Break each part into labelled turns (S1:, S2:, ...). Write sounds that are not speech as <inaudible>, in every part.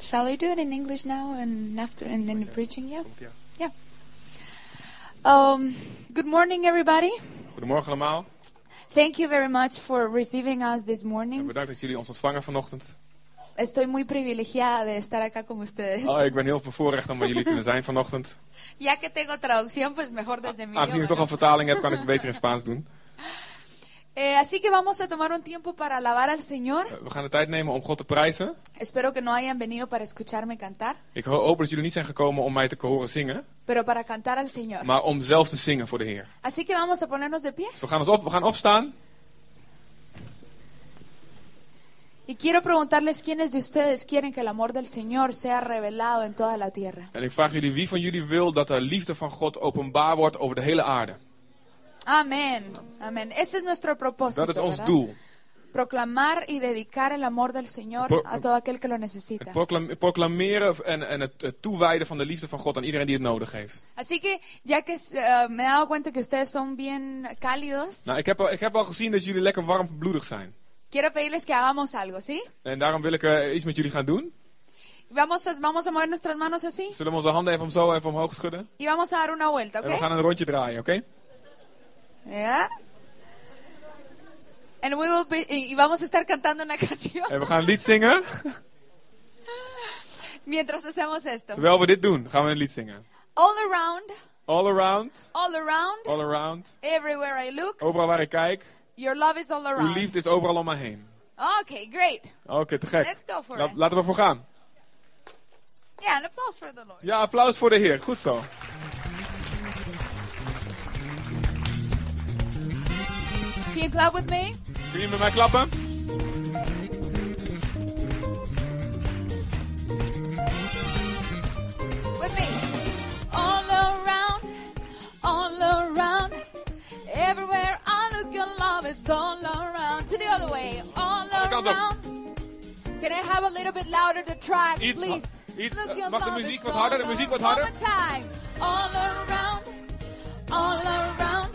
S1: Shall I do it in English now and after and then the preaching? Yeah. Yeah. Um, good morning, everybody.
S2: Goedemorgen allemaal.
S1: Thank you very much for receiving us this
S2: En
S1: morning.
S2: bedankt dat jullie ons ontvangen vanochtend.
S1: Estoy muy privilegiada de estar acá con ustedes.
S2: Oh, ik ben heel bevoorrecht om bij jullie te kunnen zijn vanochtend.
S1: Ya que tengo traducción, pues mejor desde mi
S2: Aangezien ik toch
S1: idioma.
S2: al vertaling heb, kan ik het beter in Spaans doen.
S1: Eh, así que vamos a tomar un tiempo para alabar al Señor.
S2: Eh, We gaan de tijd nemen om God te prijzen.
S1: Espero que no hayan venido para escucharme cantar,
S2: Ik ho- hoop dat jullie niet zijn gekomen om mij te horen zingen,
S1: pero para cantar al Señor.
S2: maar om zelf te zingen voor de Heer.
S1: Así que vamos a ponernos de pie.
S2: Dus we gaan, ons op, we gaan opstaan.
S1: Y quiero preguntarles quiénes de ustedes quieren que el amor del Señor sea revelado en toda la tierra.
S2: En ik vraag jullie, wie van jullie wil dat de liefde van God openbaar wordt over de hele aarde?
S1: Amén, amén. Ese es nuestro propósito.
S2: Dat is ons
S1: ¿verdad?
S2: doel.
S1: Proclamar y dedicar el amor del Señor
S2: Pro-
S1: a todo aquel que lo
S2: Het
S1: necesita.
S2: proclam- proclameren en, en het, het toewijden van de liefde van God aan iedereen die het nodig heeft.
S1: Así que ya que eh, me he dado cuenta que ustedes son bien cálidos,
S2: Nou, ik heb, al, ik heb al gezien dat jullie lekker warm bloedig zijn.
S1: quiero pedirles que hagamos algo, ¿sí?
S2: En daarom wil ik eh, iets met jullie gaan doen.
S1: Vamos a, vamos a mover nuestras manos así
S2: Zullen we onze handen even om zo even omhoog schudden?
S1: y vamos a dar una vuelta,
S2: En we
S1: ¿ok?
S2: gaan een rondje draaien, oké?
S1: Yeah. And we will be- y y vamos a estar cantando una <laughs> canción
S2: En we gaan een lied zingen. <laughs>
S1: mientras hacemos esto.
S2: Terwijl we dit doen, gaan we een lied zingen.
S1: All around,
S2: All around,
S1: all around,
S2: all around.
S1: everywhere I look,
S2: Overal waar ik kijk,
S1: your love is all
S2: uw
S1: around.
S2: liefde is overal om me heen.
S1: Okay, great.
S2: Oké, te gek.
S1: Let's go for
S2: La-
S1: it.
S2: laten we ervoor gaan.
S1: Yeah, an applause for the Lord.
S2: Ja, applaus voor de Heer. Goed zo.
S1: Can you clap with me?
S2: Kun je met mij klappen?
S1: With me. All around, all around, everywhere I look, your love is all around. To the other way, all
S2: Kant op.
S1: around. Can I have a little bit louder the track,
S2: Iets-
S1: please?
S2: iets-
S1: Look, your
S2: mag de
S1: love is
S2: muziek wat
S1: all
S2: harder, de muziek wat
S1: around.
S2: harder?
S1: One more time. All around, all around,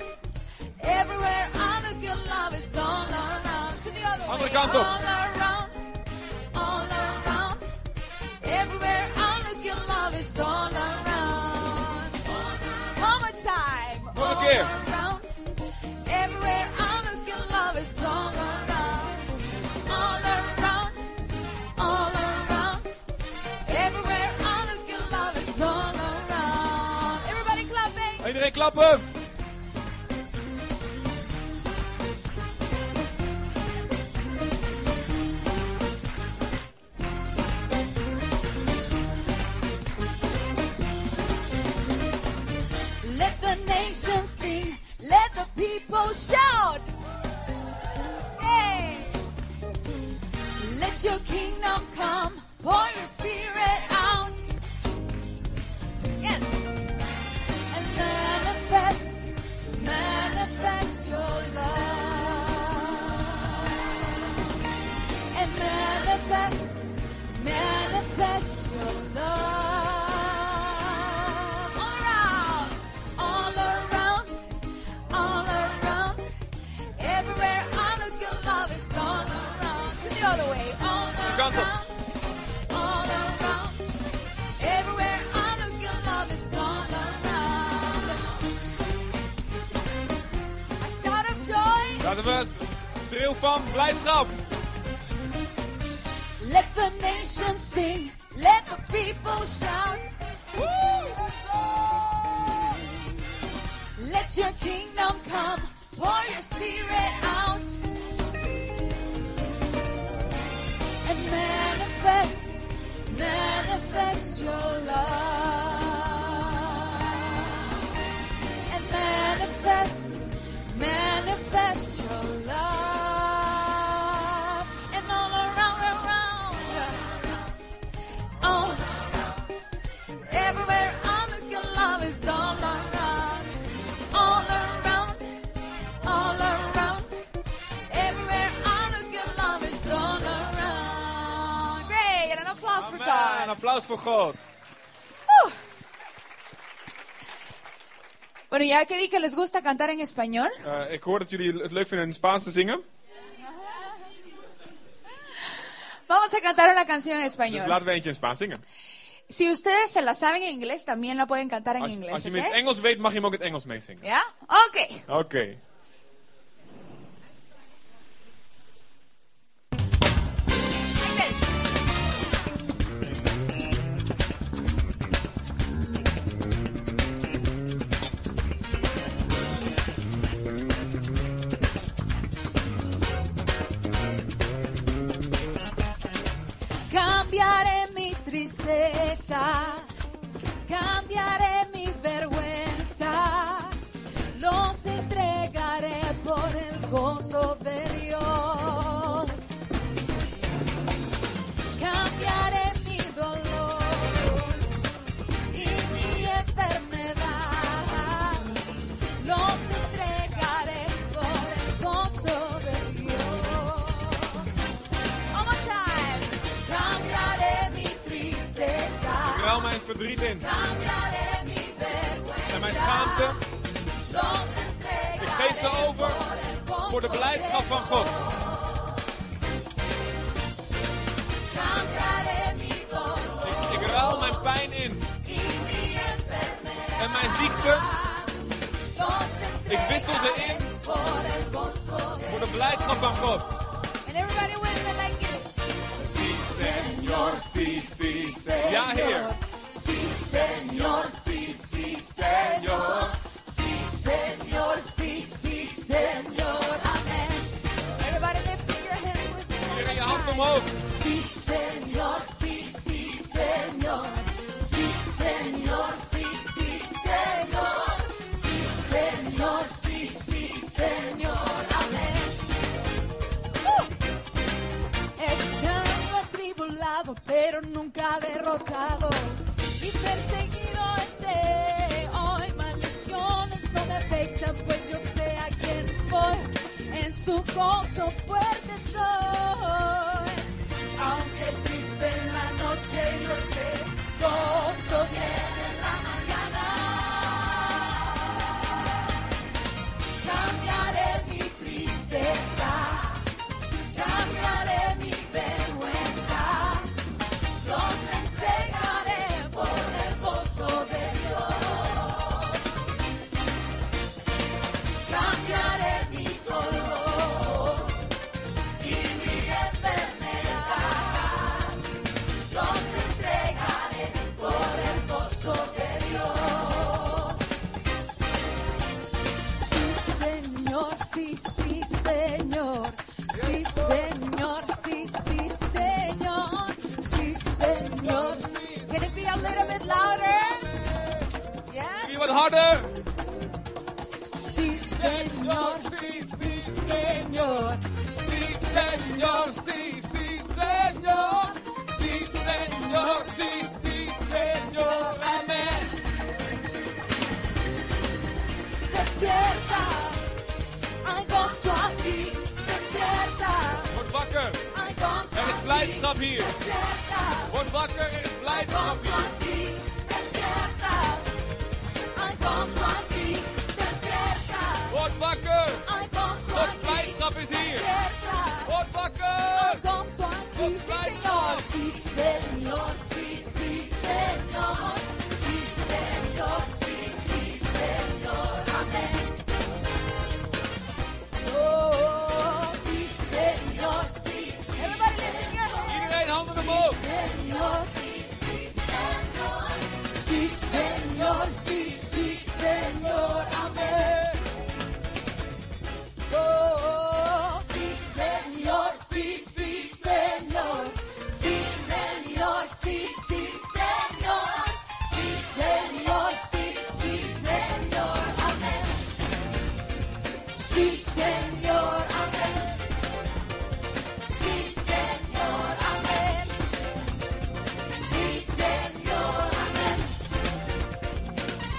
S1: everywhere I look, your love is all around. To the other way,
S2: Andere kant op.
S1: all around, all around, everywhere I look, your love is all around. One more time.
S2: Nog een
S1: All
S2: keer.
S1: around, everywhere I look, your love is all around. All around, all around, everywhere I look, your love is all around. Everybody clapping.
S2: Iedereen klappen!
S1: Let the nation sing, let the people shout. Hey! Let your kingdom come, pour your spirit out. Yes! And manifest, manifest your love. And manifest, manifest your love. All around, all around, all around. Everywhere I look, your love is all around. To the other way, all
S2: kant op.
S1: around, all around. Everywhere I look, your love is all around. A shout of joy.
S2: Laten we het schreeuw van blijdschap!
S1: Let the nation sing, let the people shout. Woo! Let your kingdom come, pour your spirit out. And manifest, manifest your love. And manifest, manifest your love. And all around, around, all everywhere I look, your love is all around, all around, all around. Everywhere I look, your love is all around. Great, and an applause for
S2: Amen.
S1: God.
S2: Een applaus voor God.
S1: Bueno, ya que vi que les gusta cantar en español,
S2: Eh, ik hoor dat jullie het leuk vinden in Spaans te zingen.
S1: Vamos a cantar una canción en
S2: Dus
S1: español.
S2: laten we eentje in Spaans zingen.
S1: Si ustedes se la saben en inglés, también la pueden cantar en
S2: Als, als
S1: inglés,
S2: je
S1: ¿ok?
S2: hem in het Engels weet, mag je hem ook in het Engels meezingen.
S1: ¿Ya? Ok.
S2: Oké.
S1: Inglés. Cambiaré mi tristeza, cambiaré mi vergüenza, los entregaré por el gozo de Dios. Cambiaré mi dolor y mi enfermedad, los entregaré por el gozo de Dios. One more time. Cambiaré mi
S2: Ik
S1: tristeza,
S2: ruil mijn verdriet in
S1: cambiaré mi
S2: en mijn
S1: vergüenza.
S2: schaamte
S1: Los entregaré
S2: Ik geef ze over
S1: gozo
S2: voor de blijdschap
S1: de
S2: van God.
S1: Cambiaré mi dolor
S2: Ik, ik ruil mijn pijn in
S1: y mi enfermedad.
S2: en mijn ziekte
S1: Los
S2: Ik wissel ze
S1: entregaré
S2: in.
S1: Por el gozo de
S2: voor de blijdschap van God.
S1: And everybody with it like this. Sí, señor, sí, sí, señor.
S2: Ja, Heer.
S1: Sí, señor, sí, sí, señor. Sí, señor, sí, sí, señor. Amén. Everybody lifting your hand with me. one
S2: Iedereen je
S1: more
S2: hand
S1: time.
S2: omhoog.
S1: Sí, señor, sí, sí, señor. Sí, señor, sí, sí, señor. Sí, señor, sí, sí, señor. Amén. Estando atribulado, pero nunca derrotado. Y perseguido esté hoy, maldiciones no me afectan, pues yo sé a quién voy. En su gozo fuerte soy. Aunque triste en la noche yo esté, gozo viene en la mañana. Cambiaré mi tristeza. Cambiaré mi vergüenza, los entregaré por el gozo de Dios. Cambiaré mi dolor y mi enfermedad, los entregaré por el gozo de Dios. Sí, señor, sí, sí, señor. Sí, señor, sí, sí, señor. Sí, señor. Can it be a little bit louder?
S2: Doe
S1: Yeah.
S2: je wat harder.
S1: Sí, señor, sí, sí, señor.
S2: Sí, señor, sí, sí, señor. Sí, señor, sí, sí, señor. Amén.
S1: Despierta. Hay gozo aquí. Despierta.
S2: Word wakker.
S1: Hay gozo
S2: Er is
S1: aquí.
S2: blijdschap hier.
S1: Despierta.
S2: Word wakker, er is
S1: Hay
S2: blijdschap
S1: gozo
S2: hier.
S1: aquí, despierta. Hay gozo aquí, despierta.
S2: Word wakker.
S1: Hay gozo
S2: Gods
S1: aquí,
S2: blijdschap is hier.
S1: despierta.
S2: Word
S1: Hay
S2: wakker.
S1: gozo aquí, sí
S2: Gods
S1: señor.
S2: blijdschap.
S1: Sí señor, sí, sí señor. Sí señor, sí, sí señor. Amén. Oh, sí señor, sí, sí. Everybody lift your hands.
S2: Iedereen handen omhoog.
S1: Señor, sí, sí, Señor. Sí, Señor, sí, sí, Señor. Amén. Oh, sí, Señor, sí, sí, Señor. Sí, Señor, sí, sí, Señor. Sí, Señor, sí, sí, Señor. Amén. Sí, Señor. Amén. Sí, Señor. Amén. Sí, Señor, amén.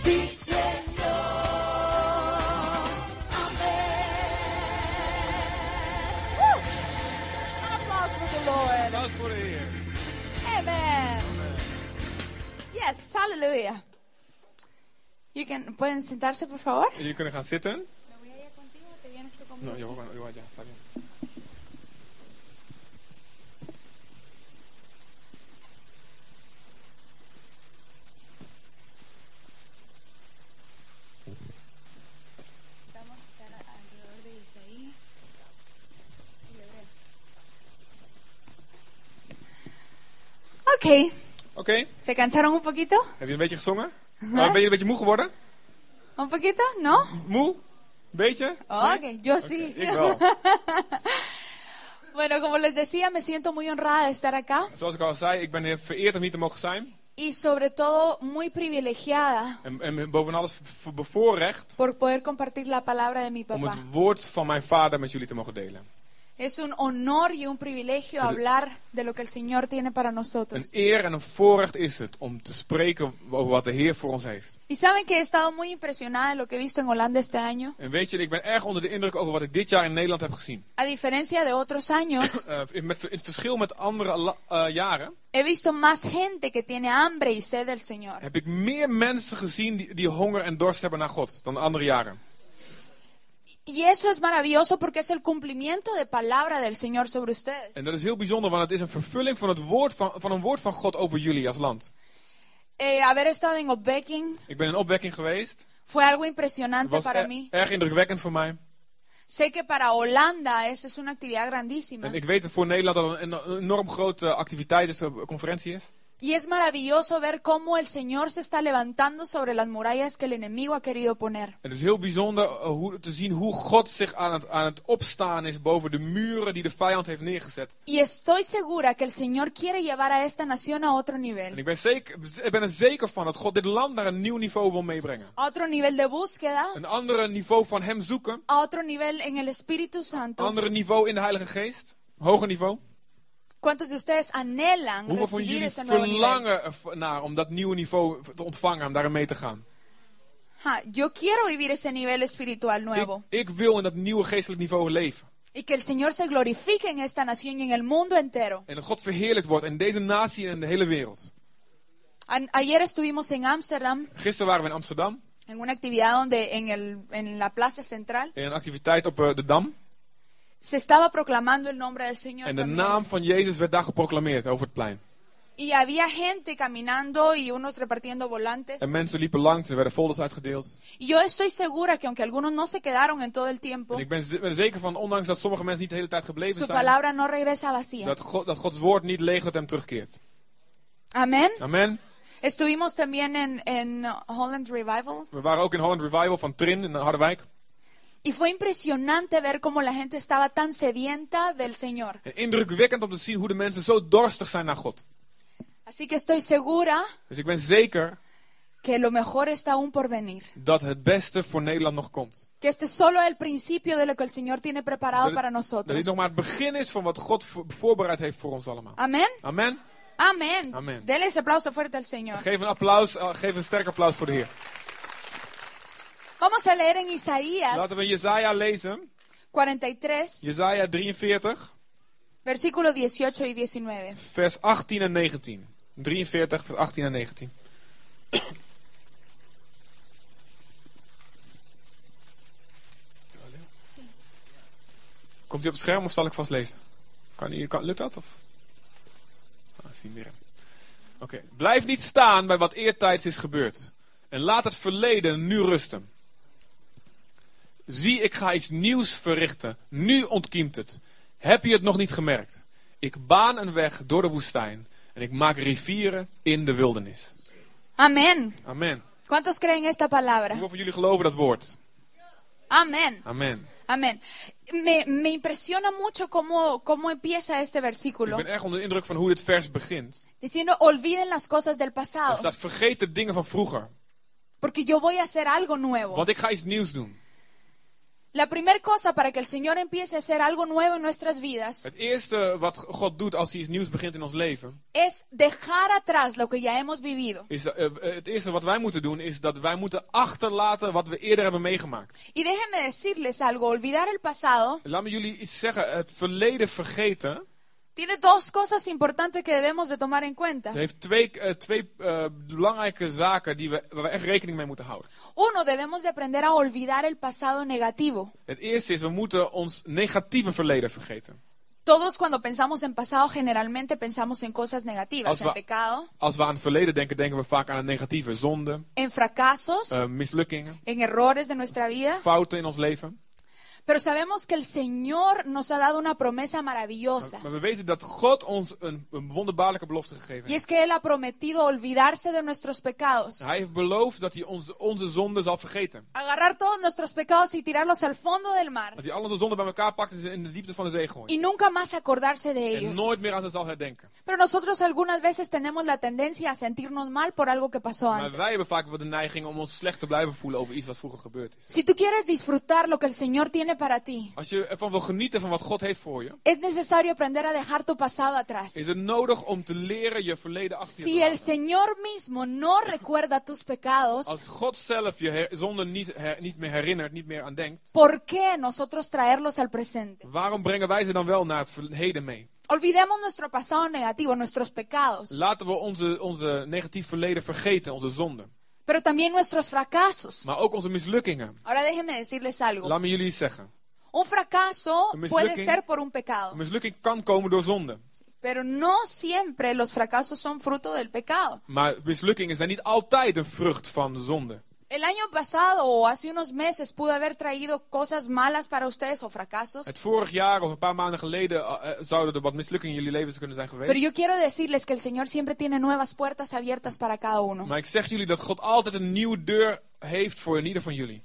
S1: Sí, Señor, amén. Woo! An applause for the Lord.
S2: Dat is voor de Heer.
S1: Amen. Yes, hallelujah. You can, pueden sentarse, por favor.
S2: Jullie kunnen gaan zitten.
S1: ¿Me voy a ir contigo o te vienes tú conmigo?
S2: No, yo, yo, yo, ya, está bien.
S1: Ok,
S2: Oké,
S1: ¿se cansaron un poquito?
S2: heb je een beetje gezongen? Maar ben je een beetje moe geworden?
S1: ¿Un poquito? ¿No?
S2: Moe? Beetje?
S1: Ok, yo sí.
S2: Ik wel.
S1: <laughs> Bueno, como les decía, me siento muy honrada de estar acá
S2: Zoals ik al zei, ik ben heel vereerd om hier te mogen zijn.
S1: y sobre todo muy privilegiada
S2: En, en boven alles v- v- bevoorrecht
S1: por poder compartir la palabra de mi
S2: om
S1: papá.
S2: het woord van mijn vader met jullie te mogen delen.
S1: Es un honor y un privilegio hablar de lo que el Señor tiene para
S2: Een
S1: nosotros.
S2: eer en een voorrecht is het om te spreken over wat de Heer voor ons heeft.
S1: Y saben que he estado muy impresionada de lo que he visto en Holanda este año.
S2: En weet je, ik ben erg onder de indruk over wat ik dit jaar in Nederland heb gezien.
S1: A diferencia de otros años,
S2: Eh, in- met, in het verschil met andere la- eh, jaren
S1: he visto más gente que tiene hambre y sed del Señor.
S2: heb ik meer mensen gezien die, die honger en dorst hebben naar God dan andere jaren.
S1: Y eso es maravilloso porque es el cumplimiento de palabra del Señor sobre ustedes.
S2: En dat is heel bijzonder, want het is een vervulling van, het woord van, van een woord van God over jullie als land.
S1: Eh, haber estado en Obeking
S2: Ik ben in opwekking geweest.
S1: fue algo
S2: Het
S1: impresionante
S2: was
S1: para
S2: er-
S1: mí.
S2: erg indrukwekkend voor mij.
S1: Sé que para Holanda esa es una actividad grandísima.
S2: En ik weet dat voor Nederland dat een, een enorm grote activiteit is, een conferentie is.
S1: Y es maravilloso ver cómo el Señor se está levantando sobre las murallas que el enemigo ha querido poner.
S2: Het is heel bijzonder eh, hoe, te zien hoe God zich aan het, aan het opstaan is boven de muren die de vijand heeft neergezet.
S1: Y estoy segura que el Señor quiere llevar a esta nación a otro
S2: En
S1: nivel,
S2: ik ben, zeker, ik ben er zeker van dat God dit land naar een nieuw niveau wil meebrengen.
S1: a otro nivel de búsqueda,
S2: Een ander niveau van Hem zoeken.
S1: a otro nivel en el Espíritu
S2: Een
S1: Santo.
S2: ander niveau in de Heilige Geest. Hoger niveau.
S1: ¿Cuántos de ustedes anhelan
S2: Hoeveel van
S1: recibir
S2: jullie
S1: ese nuevo nivel?
S2: verlangen er naar om dat nieuwe niveau te ontvangen, om daarin mee te gaan?
S1: Ja, yo quiero vivir ese nivel espiritual
S2: Ik,
S1: nuevo
S2: ik wil in dat nieuwe geestelijk niveau leven.
S1: y que el Señor se glorifique en esta nación y en el mundo entero.
S2: En dat God verheerlijkt wordt in deze natie en in de hele wereld.
S1: An- ayer estuvimos en Ámsterdam
S2: Gisteren waren we in Amsterdam.
S1: en una actividad donde en, el, en la plaza central
S2: In een activiteit op eh, de Dam.
S1: se estaba proclamando el nombre del Señor.
S2: En de
S1: también.
S2: naam van Jezus werd daar geproclameerd over het plein.
S1: Y había gente caminando y unos repartiendo volantes.
S2: En mensen liepen langs, er werden folders uitgedeeld.
S1: Y yo estoy segura que aunque algunos no se quedaron en todo el tiempo,
S2: En ik ben z- ben er zeker van, ondanks dat sommige mensen niet de hele tijd gebleven
S1: su
S2: zijn,
S1: palabra no regresa vacía.
S2: dat, God, dat Gods woord niet leeg dat hem terugkeert.
S1: Amén.
S2: Amen.
S1: Estuvimos también en, en Holland Revival
S2: We waren ook in Holland Revival van Trin in Harderwijk.
S1: y fue impresionante ver cómo la gente estaba tan sedienta del Señor.
S2: En indrukwekkend om te zien hoe de mensen zo dorstig zijn naar God.
S1: Así que estoy segura
S2: Dus ik ben zeker
S1: que lo mejor está aún por venir.
S2: dat het beste voor Nederland nog komt.
S1: Que este es solo el principio de lo que el Señor tiene preparado
S2: Dat
S1: para
S2: het, dat dit
S1: nosotros.
S2: nog maar het begin is van wat God voor- voorbereid heeft voor ons allemaal.
S1: Amén.
S2: Amen.
S1: Amén.
S2: Amén.
S1: Denle ese aplauso fuerte al Señor.
S2: Geef een applaus, eh, geef een sterk applaus voor de Heer.
S1: Vamos a leer en Isaías
S2: Laten we Jezaja lezen.
S1: 43,
S2: Jezaja 43,
S1: versículos 18 y 19.
S2: vers 18 en 19. 43, vers 18 en 19. Komt hij op het scherm of zal ik vastlezen? Kan, hij- kan, lukt dat? Of? Ah, zie meer. Oké. Blijf niet staan bij wat eertijds is gebeurd. En laat het verleden nu rusten. Zie, ik ga iets nieuws verrichten. Nu ontkiemt het. Heb je het nog niet gemerkt? Ik baan een weg door de woestijn. En ik maak rivieren in de wildernis.
S1: Amén.
S2: Amen.
S1: ¿Cuántos creen esta palabra?
S2: Hoeveel van jullie geloven dat woord?
S1: Amén.
S2: Amen.
S1: Amén. Me, me impresiona mucho cómo, cómo empieza este
S2: Ik
S1: versículo.
S2: ben erg onder de indruk van hoe dit vers begint.
S1: Diciendo, olviden las cosas del
S2: Er
S1: pasado,
S2: staat, vergeet de dingen van vroeger.
S1: porque yo voy a hacer algo nuevo.
S2: Want ik ga iets nieuws doen.
S1: La primera cosa para que el Señor empiece a hacer algo nuevo en nuestras vidas
S2: Het eerste wat God doet als hij iets nieuws begint in ons leven,
S1: es dejar atrás lo que ya hemos vivido
S2: is dat, eh, eh, het eerste wat wij moeten doen, is dat wij moeten achterlaten wat we eerder hebben meegemaakt.
S1: Y déjenme decirles algo, olvidar el pasado
S2: Laat me jullie iets zeggen. Het verleden vergeten
S1: tiene dos cosas importantes que debemos de tomar en cuenta.
S2: heeft twee, eh, twee eh, belangrijke zaken die we, waar we echt rekening mee moeten houden.
S1: Uno, debemos de aprender a olvidar el pasado negativo.
S2: Het eerste is, we moeten ons negatieve verleden vergeten.
S1: Todos cuando pensamos en pasado generalmente pensamos en cosas negativas,
S2: Als
S1: en
S2: we-
S1: pecado,
S2: Als we aan het verleden denken, denken we vaak aan het negatieve. Zonde,
S1: en fracasos,
S2: eh, mislukkingen,
S1: en errores de nuestra vida.
S2: fouten in ons leven.
S1: Pero sabemos que el Señor nos ha dado una promesa maravillosa.
S2: Maar we weten dat God ons een, een wonderbaarlijke belofte gegeven
S1: Y
S2: heeft.
S1: es que Él ha prometido olvidarse de nuestros pecados,
S2: Hij heeft beloofd dat hij ons, onze zonden zal vergeten.
S1: agarrar todos nuestros pecados y tirarlos al fondo del mar
S2: Dat hij al onze zonden bij elkaar pakt en ze in de diepte van de zee gooit.
S1: y nunca más acordarse de
S2: En
S1: ellos.
S2: nooit meer aan ze zal herdenken.
S1: Pero nosotros algunas veces tenemos la tendencia a sentirnos mal por algo que pasó
S2: Maar
S1: antes.
S2: wij hebben vaak wel de neiging om ons slecht te blijven voelen over iets wat vroeger gebeurd is.
S1: Si tú quieres disfrutar lo que el Señor tiene para ti,
S2: Als je ervan wil genieten van wat God heeft voor je,
S1: es necesario aprender a dejar tu pasado atrás.
S2: is het nodig om te leren je verleden achter je
S1: Si
S2: te
S1: el
S2: laten.
S1: Señor mismo no recuerda tus pecados,
S2: Als God zelf je her- zonde niet, her- niet meer herinnert, niet meer aan denkt,
S1: ¿por qué nosotros traerlos al presente?
S2: waarom brengen wij ze dan wel naar het verleden mee?
S1: Olvidemos nuestro pasado negativo, nuestros pecados,
S2: Laten we onze, onze negatief verleden vergeten, onze zonden.
S1: pero también nuestros fracasos.
S2: Maar ook onze mislukkingen.
S1: Ahora déjenme decirles algo.
S2: Laat me jullie iets zeggen.
S1: Un fracaso
S2: Een
S1: puede
S2: mislukking.
S1: ser por un
S2: Een
S1: pecado,
S2: mislukking kan komen door zonde.
S1: pero no siempre los fracasos son fruto del pecado.
S2: Maar mislukkingen zijn niet altijd een vrucht van zonde.
S1: El año pasado o hace unos meses pude haber traído cosas malas para ustedes o fracasos,
S2: Het vorig jaar of een paar maanden geleden eh, eh, zouden er wat mislukkingen in jullie levens kunnen zijn
S1: pero
S2: geweest.
S1: yo quiero decirles que el Señor siempre tiene nuevas puertas abiertas para cada uno.
S2: Maar ik zeg jullie dat God altijd een nieuwe deur heeft voor ieder van jullie.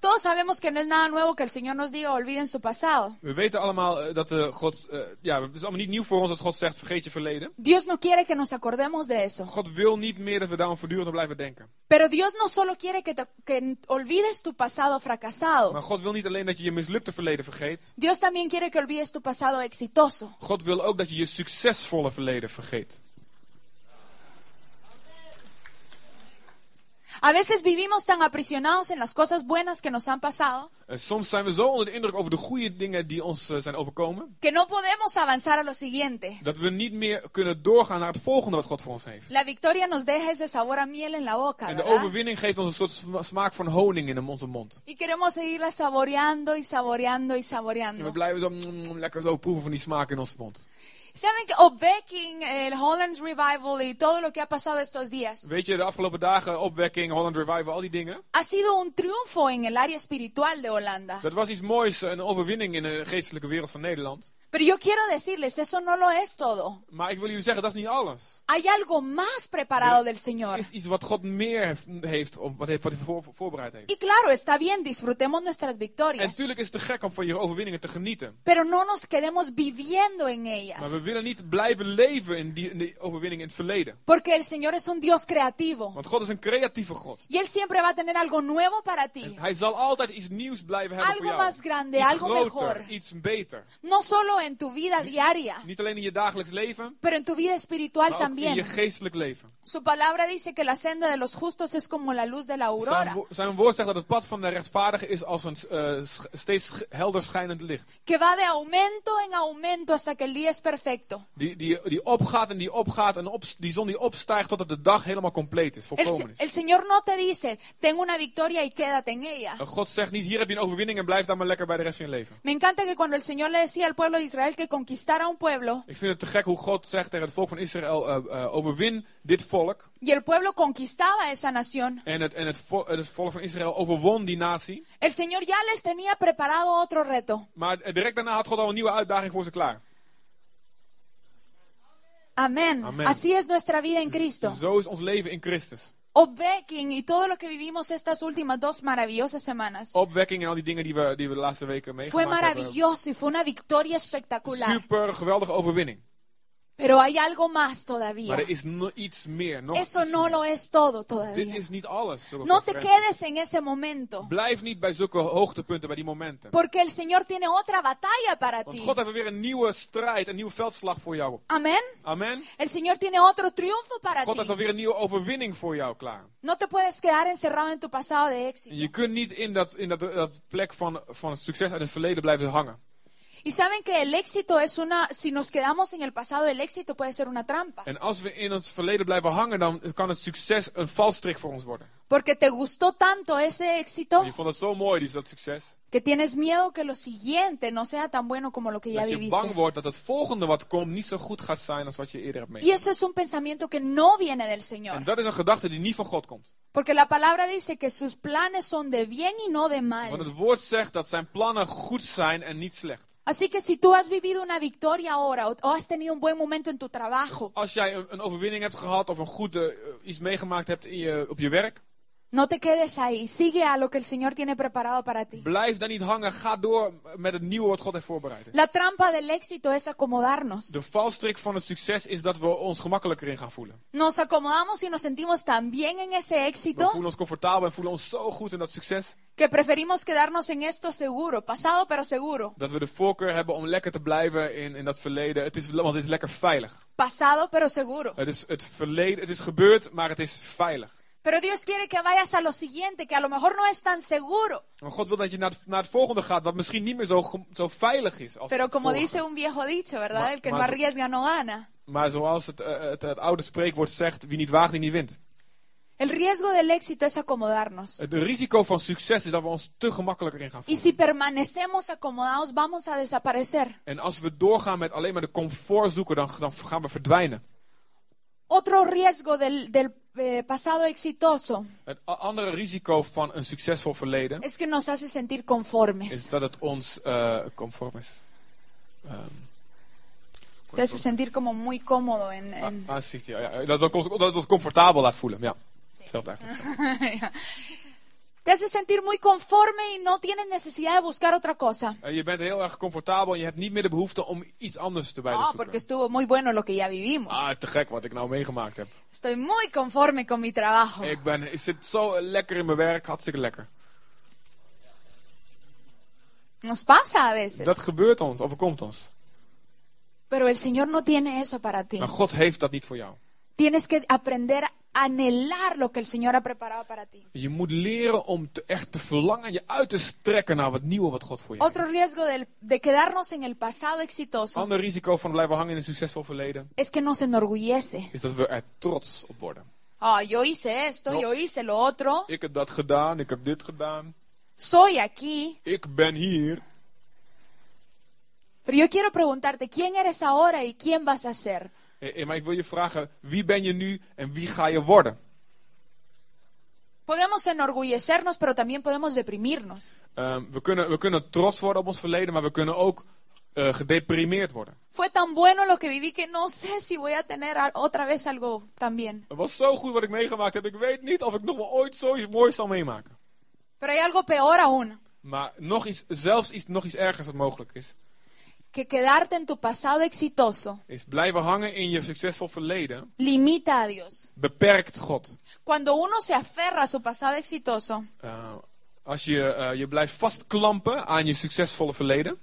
S1: Todos sabemos que no es nada nuevo que el Señor nos diga olviden su pasado.
S2: We weten allemaal eh, dat eh, God. eh, ja, het is allemaal niet nieuw voor ons dat God zegt: vergeet je verleden.
S1: Dios no quiere que nos acordemos de eso.
S2: God wil niet meer dat we daarom voortdurend aan blijven denken.
S1: Pero Dios no solo quiere que, te- que olvides tu pasado
S2: Maar
S1: fracasado.
S2: God wil niet alleen dat je je mislukte verleden vergeet.
S1: Dios también quiere que olvides tu pasado exitoso.
S2: God wil ook dat je je succesvolle verleden vergeet.
S1: A veces vivimos tan aprisionados en las cosas buenas que nos han pasado
S2: Eh, soms zijn we zo onder de indruk over de goede dingen die ons eh, zijn overkomen.
S1: que no podemos avanzar a lo siguiente.
S2: Dat we niet meer kunnen doorgaan naar het volgende wat God voor ons heeft.
S1: La victoria nos deja ese sabor a miel en la boca,
S2: En de
S1: ¿verdad?
S2: overwinning geeft ons een soort sma- smaak van honing in onze mond.
S1: Y queremos seguirla saboreando y saboreando y
S2: En we
S1: saboreando.
S2: blijven zo mm, mm, lekker zo proeven van die smaak in onze mond.
S1: ¿Saben que Obeking, el Holland's Revival y todo lo que ha pasado estos días?
S2: Weet je, de afgelopen dagen, opwekking, Holland Revival, al die dingen.
S1: ha sido un triunfo en el área espiritual de Holanda.
S2: Dat was iets moois, een overwinning in de geestelijke wereld van Nederland.
S1: Pero yo quiero decirles, eso no lo es todo.
S2: Maar ik wil jullie zeggen, dat is niet alles.
S1: Hay algo más preparado del
S2: Er
S1: Señor.
S2: is iets wat God meer hef- heeft, of wat, heeft, wat hij voor- voorbereid heeft.
S1: Y claro, está bien, disfrutemos nuestras
S2: En
S1: victorias,
S2: natuurlijk is het te gek om van je overwinningen te genieten.
S1: pero no nos quedemos viviendo en ellas.
S2: Maar we willen niet blijven leven in die, in die overwinning in het verleden.
S1: Porque el Señor es un Dios creativo
S2: Want God is een creatieve God.
S1: y Él siempre va a tener algo nuevo para
S2: En
S1: ti.
S2: hij zal altijd iets nieuws blijven hebben
S1: Algo
S2: voor jou.
S1: más grande,
S2: iets
S1: algo
S2: groter,
S1: mejor.
S2: iets beter.
S1: No solo en tu vida diaria,
S2: Niet alleen in je dagelijks leven,
S1: pero en tu vida espiritual
S2: maar ook in je
S1: también.
S2: geestelijk leven.
S1: Su palabra dice que la senda de los justos es como la luz de la
S2: Zijn,
S1: aurora,
S2: wo- zijn woord zegt dat het pad van de rechtvaardige is als een eh, sch- steeds sch- helder schijnend licht.
S1: que va de aumento en aumento hasta que el día es perfecto.
S2: Die, die, die opgaat en die opgaat en op, die zon die opstijgt totdat de dag helemaal compleet is,
S1: El,
S2: volkomen is.
S1: el Señor no te dice, tengo una victoria y quédate en ella.
S2: En God zegt niet, hier heb je een overwinning en blijf daar maar lekker bij de rest van je leven.
S1: Me encanta que cuando el Señor le decía al pueblo de Israel que conquistara un pueblo,
S2: Ik vind het te gek hoe God zegt tegen het volk van Israël, eh, eh, overwin dit volk.
S1: y el pueblo conquistaba esa nación,
S2: En het, en het, vo- eh, het volk van Israël overwon die natie.
S1: el Señor ya les tenía preparado otro reto.
S2: Maar eh, direct daarna had God al een nieuwe uitdaging voor ze klaar.
S1: Amén.
S2: Amén.
S1: Así es nuestra vida en Cristo.
S2: Zo is ons leven in Christus.
S1: Obeking y todo lo que vivimos estas últimas dos maravillosas semanas
S2: Opwekking en al die dingen die we, die we de laatste weken
S1: fue
S2: meegemaakt hebben.
S1: maravilloso y fue una victoria espectacular.
S2: Super geweldige overwinning.
S1: Pero hay algo más todavía.
S2: Maar er is no- iets meer. Nog
S1: Eso
S2: iets
S1: no
S2: meer.
S1: lo es todo
S2: Dit
S1: todavía.
S2: is niet alles. zulke
S1: No te
S2: conferenties.
S1: quedes en ese momento.
S2: Blijf niet bij zulke hoogtepunten, bij die momenten.
S1: Porque el Señor tiene otra batalla para
S2: Want
S1: ti.
S2: God heeft weer een nieuwe strijd, een nieuwe veldslag voor jou.
S1: Amén.
S2: Amen.
S1: El Señor tiene otro triunfo para
S2: God heeft
S1: ti.
S2: alweer een nieuwe overwinning voor jou klaar.
S1: No te puedes quedar encerrado en tu pasado de
S2: En je
S1: éxito.
S2: kunt niet in dat, in dat, dat plek van, van het succes uit het verleden blijven hangen.
S1: Y saben que el éxito es una, si nos quedamos en el pasado, el éxito puede ser una trampa.
S2: En als we in ons verleden blijven hangen, dan kan het succes een valstrik voor ons worden.
S1: Porque te gustó tanto ese éxito
S2: En je vond het zo mooi, die, dat succes.
S1: que tienes miedo que lo siguiente no sea tan bueno como lo que ya
S2: Dat je bang
S1: viviste.
S2: wordt dat het volgende wat komt niet zo goed gaat zijn als wat je eerder hebt
S1: Y
S2: meegemaakt.
S1: eso es un pensamiento que no viene del
S2: En
S1: Señor.
S2: dat is een gedachte die niet van God komt.
S1: Porque la palabra dice que sus planes son de bien y no de
S2: Want het
S1: mal.
S2: woord zegt dat zijn plannen goed zijn en niet slecht.
S1: Así que si tú has vivido una victoria ahora o, o has tenido un buen momento en tu trabajo,
S2: Als jij een, een overwinning hebt gehad of een goede eh, iets meegemaakt hebt in je, op je werk,
S1: no te quedes ahí. Sigue a lo que el Señor tiene preparado para ti.
S2: blijf daar niet hangen. Ga door met het nieuwe wat God heeft voorbereid.
S1: La trampa del éxito es acomodarnos.
S2: De valstrik van het succes is dat we ons gemakkelijker in gaan voelen.
S1: Nos acomodamos y nos sentimos tan bien en ese
S2: We
S1: éxito
S2: voelen ons comfortabel en voelen ons zo goed in dat succes.
S1: que preferimos quedarnos en esto seguro, pasado pero seguro,
S2: Dat we de voorkeur hebben om lekker te blijven in, in dat verleden. Het is, want het is lekker veilig.
S1: pasado pero seguro.
S2: Het is, het, verleden, het is gebeurd, maar het is veilig.
S1: Pero Dios quiere que vayas a lo siguiente, que a lo mejor no es tan seguro,
S2: Maar God wil dat je naar het, naar het volgende gaat, wat misschien niet meer zo, ge- zo veilig is. Als
S1: pero
S2: het
S1: como
S2: vorige.
S1: dice un viejo dicho, ¿verdad?
S2: Ma-
S1: El que no
S2: más-
S1: arriesga no gana.
S2: Maar zoals het, eh, het, het oude spreekwoord zegt, wie niet waagt, die niet wint.
S1: El riesgo del éxito es acomodarnos.
S2: Het risico van succes is dat we ons te gemakkelijker in gaan
S1: Y
S2: voelen.
S1: si permanecemos acomodados, vamos a desaparecer.
S2: En als we doorgaan met alleen maar de comfort zoeken, dan, dan gaan we verdwijnen.
S1: Otro riesgo del, del, eh, pasado exitoso
S2: Het a- andere risico van een succesvol verleden
S1: es que nos hace sentir
S2: is
S1: conformes.
S2: dat het ons eh, conform is. Ehm,
S1: Te hace sentir como muy cómodo en- en,
S2: ah, ah, ziet hij, ja, ja. dat, het ons, dat het ons comfortabel laat voelen. Ja, hetzelfde eigenlijk.
S1: Te hace sentir muy conforme y no tienes necesidad de buscar otra cosa.
S2: Eh, je bent heel erg comfortabel en je hebt niet meer de behoefte om iets anders erbij te
S1: Ah,
S2: zoeken.
S1: porque estuvo muy bueno lo que ya vivimos.
S2: Ah, te gek wat ik nou meegemaakt heb.
S1: Estoy muy conforme con mi trabajo.
S2: Ik, ben, ik zit zo lekker in mijn werk, hartstikke lekker.
S1: Nos pasa a veces.
S2: Dat gebeurt ons, overkomt ons.
S1: Pero el Señor no tiene eso para ti.
S2: Maar God heeft dat niet voor jou.
S1: Tienes que aprender a anhelar lo que el Señor ha preparado para ti.
S2: Je moet leren om te, echt te verlangen en je uit te strekken naar wat nieuwe wat God voor je heeft.
S1: Otro riesgo del- de quedarnos en el pasado exitoso
S2: Ander risico van blijven hangen in een succesvol verleden
S1: es que nos enorgullece.
S2: is dat we er trots op worden.
S1: Ah, yo hice esto,
S2: No.
S1: yo hice lo otro.
S2: Ik heb dat gedaan, ik heb dit gedaan,
S1: Soy aquí.
S2: ik ben hier.
S1: Pero yo quiero preguntarte, ¿quién eres ahora y quién vas a ser?
S2: Eh, eh, maar ik wil je vragen, wie ben je nu en wie ga je worden?
S1: Podemos enorgullecernos, pero también podemos deprimirnos.
S2: Ehm, we, kunnen, we kunnen trots worden op ons verleden, maar we kunnen ook eh, gedeprimeerd worden.
S1: Fue tan bueno lo que viví que no sé si voy a tener a- otra vez algo también.
S2: Het was zo goed wat ik meegemaakt heb, ik weet niet of ik nog wel ooit zoiets moois zal meemaken.
S1: Pero hay algo peor aún,
S2: Maar nog iets, zelfs iets, nog iets ergers dat mogelijk is.
S1: que quedarte en tu pasado exitoso
S2: is blijven hangen in je succesvol verleden
S1: limita a Dios.
S2: beperkt God.
S1: Cuando uno se aferra a su pasado exitoso,
S2: Eh, als je eh, je blijft vastklampen aan je succesvolle verleden,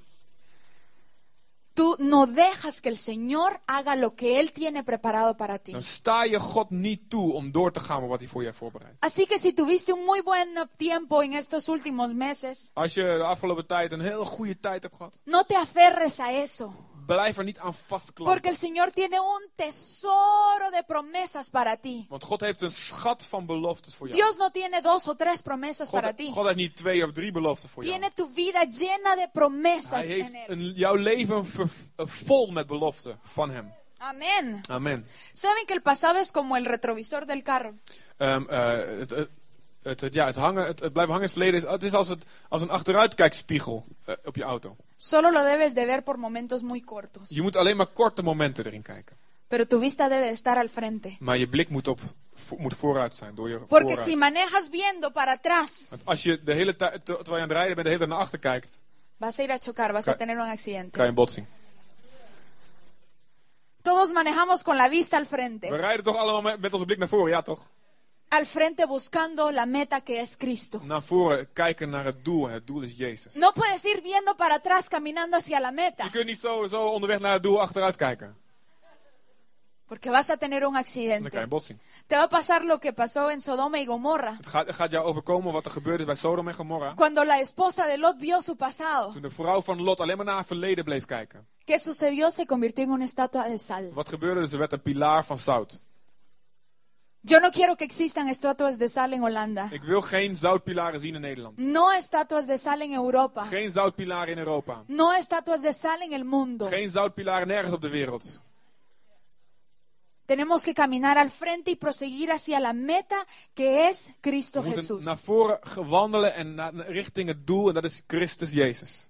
S1: tú no dejas que el Señor haga lo que Él tiene preparado para ti.
S2: dan sta je God niet toe om door te gaan met wat hij voor je heeft voorbereid.
S1: Así que si tuviste un muy buen tiempo en estos últimos meses,
S2: Als je de afgelopen tijd een heel goede tijd hebt gehad,
S1: no te aferres a eso,
S2: blijf er niet aan
S1: porque
S2: vastklampen.
S1: el Señor tiene un tesoro de promesas para ti.
S2: Want God heeft een schat van beloftes voor jou.
S1: Dios no tiene dos o tres promesas
S2: God,
S1: para ti.
S2: God heeft niet twee of drie beloften voor jou.
S1: Tiene tu vida llena de promesas en
S2: Hij heeft
S1: Él.
S2: een, jouw leven ver- eh, vol met beloften van hem.
S1: Amén.
S2: Amen.
S1: Saben que el pasado es como el retrovisor del carro.
S2: Ehm, eh, het, het, het- het- ja, het, hangen, het, het blijven hangen in het verleden is, het is als, het, als een achteruitkijkspiegel eh, op je auto.
S1: Solo lo debes de ver por momentos muy cortos.
S2: Je moet alleen maar korte momenten erin kijken.
S1: Pero tu vista debe de estar al frente.
S2: Maar je blik moet, op, vo- moet vooruit zijn door je
S1: Porque
S2: vooruit.
S1: si manejas viendo para atrás,
S2: Want als je de hele tijd, ter- terwijl je aan het rijden bent, de hele tijd naar achter kijkt,
S1: vas a ir a chocar, vas a
S2: Ca-
S1: tener un
S2: krijg je
S1: accidente.
S2: een botsing.
S1: Todos manejamos con la vista al
S2: We
S1: frente.
S2: rijden toch allemaal met, met onze blik naar voren, ja toch?
S1: Al frente buscando la meta que es Cristo.
S2: Naar voren kijken naar het doel. Het doel is Jezus.
S1: No puedes ir viendo para atrás caminando hacia la meta.
S2: Je kunt niet zo, zo onderweg naar het doel achteruit kijken.
S1: Porque vas a tener un
S2: Dan krijg je
S1: accidente.
S2: een botsing.
S1: Te va a pasar lo que pasó en Sodoma y Gomorra.
S2: Het gaat, het gaat jou overkomen wat er gebeurd is bij Sodom en Gomorra.
S1: Cuando la esposa de Lot vio su pasado,
S2: Toen de vrouw van Lot alleen maar naar haar verleden bleef kijken.
S1: ¿qué sucedió? Se convirtió en una estatua de sal.
S2: Wat gebeurde er? Ze werd een pilaar van zout.
S1: Yo no quiero que existan estatuas de sal en Holanda.
S2: Ik wil geen zoutpilaren zien in Nederland.
S1: No estatuas de sal en Europa.
S2: Geen zoutpilaren in Europa.
S1: No estatuas de sal en el mundo.
S2: Geen zoutpilaren nergens op de wereld.
S1: Tenemos que caminar al frente y proseguir hacia la meta que es Cristo
S2: We moeten
S1: Jesús.
S2: naar voren ge- wandelen en na- richting het doel en dat is Christus Jezus.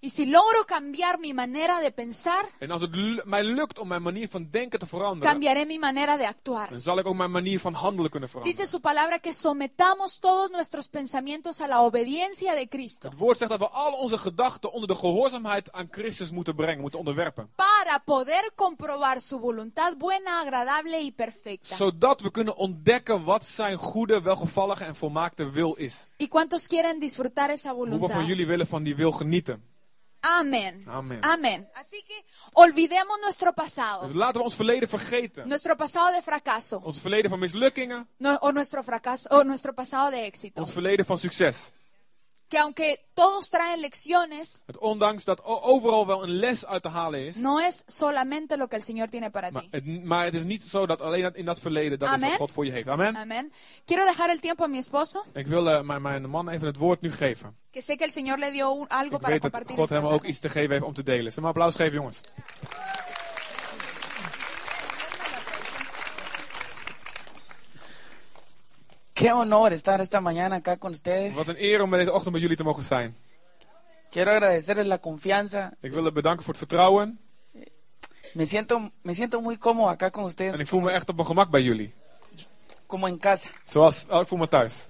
S1: Y si logro cambiar mi manera de pensar,
S2: En als het lu- mij lukt om mijn manier van denken te veranderen,
S1: cambiaré mi manera de actuar.
S2: dan zal ik ook mijn manier van handelen kunnen veranderen.
S1: Dice su palabra que sometamos todos nuestros pensamientos a la obediencia de Cristo
S2: Het woord zegt dat we al onze gedachten onder de gehoorzaamheid aan Christus moeten brengen, moeten onderwerpen.
S1: para poder comprobar su voluntad buena, agradable y perfecta.
S2: Zodat we kunnen ontdekken wat zijn goede, welgevallige en volmaakte wil is.
S1: ¿Y cuántos quieren disfrutar esa
S2: Hoeveel
S1: voluntad?
S2: van jullie willen van die wil genieten?
S1: Amén.
S2: Amén.
S1: Amén. Así que olvidemos nuestro pasado,
S2: Dus laten we ons verleden vergeten.
S1: nuestro pasado de fracaso
S2: Ons verleden van mislukkingen,
S1: no- o nuestro fracaso o nuestro pasado de éxito.
S2: ons verleden van succes.
S1: Que aunque todos traen lecciones,
S2: Het ondanks dat o- overal wel een les uit te halen is.
S1: no es solamente lo que el Señor tiene para
S2: Maar
S1: ti.
S2: het, maar het is niet zo dat alleen dat in dat verleden dat is
S1: Amen.
S2: wat God voor je heeft. Amen.
S1: Amén. Quiero dejar el tiempo a mi esposo,
S2: Ik wil eh, mijn, mijn man even het woord nu geven.
S1: que sé que el Señor le dio un- algo
S2: Ik
S1: para
S2: weet dat
S1: compartir.
S2: God
S1: esta
S2: hem ook
S1: tarde.
S2: iets te geven heeft om te delen. Zullen we een applaus geven, jongens?
S3: Qué honor estar esta mañana acá con ustedes.
S2: Wat een eer om deze ochtend bij jullie te mogen zijn.
S3: Quiero agradecerles la confianza.
S2: Ik wil je bedanken voor het vertrouwen.
S3: Me siento, me siento muy cómodo acá con
S2: En ik
S3: ustedes,
S2: voel me echt op mijn gemak bij jullie.
S3: como en casa.
S2: Zoals, oh, ik voel me thuis.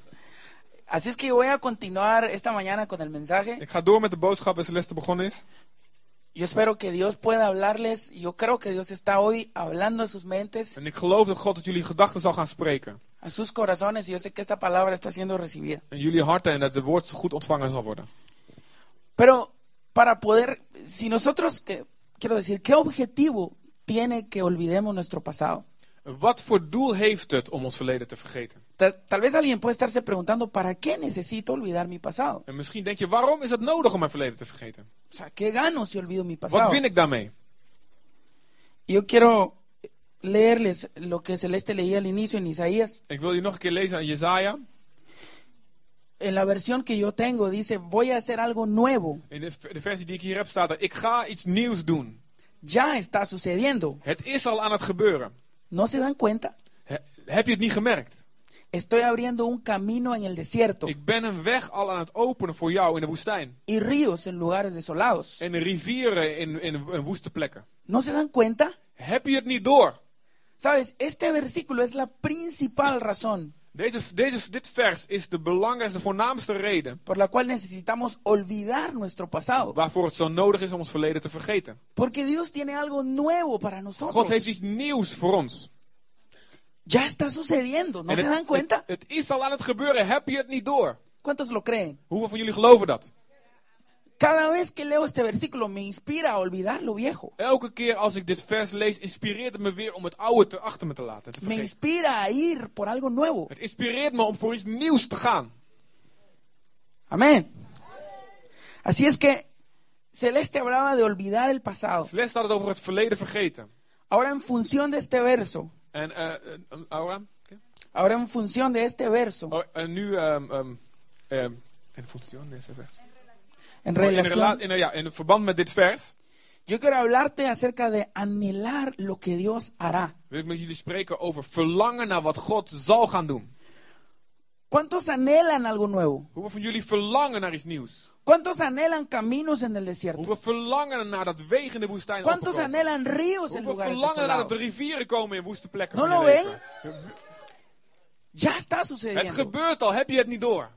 S3: Así es que voy a continuar esta mañana con el mensaje.
S2: Ik ga door met de boodschap waar Celeste begonnen is.
S3: Yo espero que Dios pueda hablarles. Yo creo que Dios está hoy hablando a sus mentes,
S2: En ik geloof dat God tot jullie gedachten zal gaan spreken.
S3: a sus corazones, y yo sé que esta palabra está siendo recibida.
S2: En jullie harten en dat het woord goed ontvangen zal worden.
S3: Pero para poder, si nosotros, que- quiero decir, ¿qué objetivo tiene que olvidemos nuestro pasado?
S2: Wat voor doel heeft het om ons verleden te vergeten?
S3: Ta- tal vez alguien puede estarse preguntando, ¿para qué necesito olvidar mi pasado?
S2: En misschien denk je, waarom is het nodig om mijn verleden te vergeten?
S3: O sea, ¿qué gano si olvido mi
S2: Wat
S3: pasado?
S2: win ik daarmee?
S3: Yo quiero leerles lo que Celeste leía al inicio en Isaías.
S2: Ik wil je nog een keer lezen aan Jezaja.
S3: En la versión que yo tengo dice, voy a hacer algo nuevo.
S2: In de, de versie die ik hier heb staat er, ik ga iets nieuws doen.
S3: Ya está sucediendo.
S2: Het is al aan het gebeuren.
S3: ¿No se dan cuenta?
S2: He- heb je het niet gemerkt?
S3: Estoy abriendo un camino en el desierto
S2: Ik ben een weg al aan het openen voor jou in de woestijn.
S3: y ríos en lugares desolados.
S2: En rivieren in, in, in woeste plekken.
S3: ¿No se dan cuenta?
S2: Heb je het niet door?
S3: Sabes, este versículo es la principal razón
S2: Deze, deze, dit vers is de belangrijkste, de voornaamste reden
S3: por la cual necesitamos olvidar nuestro pasado.
S2: waarvoor het zo nodig is om ons verleden te vergeten.
S3: Porque Dios tiene algo nuevo para
S2: God heeft
S3: nosotros.
S2: iets nieuws voor ons.
S3: Ya está sucediendo. ¿No
S2: En
S3: se
S2: het,
S3: dan cuenta?
S2: het- het is al aan het gebeuren. Heb je het niet door?
S3: ¿Cuántos lo creen?
S2: Hoeveel van jullie geloven dat?
S3: Cada vez que leo este versículo me inspira a olvidar lo viejo.
S2: Elke keer als ik dit vers lees, inspireert het me weer om het oude te achter me te laten. Te
S3: Me
S2: vergeten.
S3: inspira a ir por algo nuevo.
S2: Het inspireert me om voor iets nieuws te gaan.
S3: Amén. Así es que Celeste hablaba de olvidar el pasado.
S2: Celeste had het over het verleden vergeten.
S3: Ahora en función de este verso,
S2: En, eh, eh, eh, Aura? Oké.
S3: ahora en función de este verso,
S2: Oh, en nu, ehm ehm ehm, en functie, nee, ze zegt.
S3: en
S2: Oh, in, rela-
S3: relación,
S2: in, eh, ja, in verband met dit vers
S3: yo quiero hablarte acerca de anhelar lo que Dios hará.
S2: wil ik met jullie spreken over verlangen naar wat God zal gaan doen.
S3: ¿Cuántos anhelan algo nuevo?
S2: Hoeveel van jullie verlangen naar iets nieuws?
S3: ¿Cuántos anhelan caminos en el desierto?
S2: Hoeveel verlangen naar dat wegen in de woestijn
S3: ¿Cuántos
S2: opkomen?
S3: anhelan ríos
S2: Hoeveel
S3: en lugares
S2: verlangen naar dat de
S3: desolados?
S2: rivieren komen in woeste plekken
S3: No
S2: van
S3: lo
S2: je
S3: ven.
S2: leven?
S3: Ya está
S2: Het
S3: sucediendo.
S2: gebeurt al, heb je het niet door.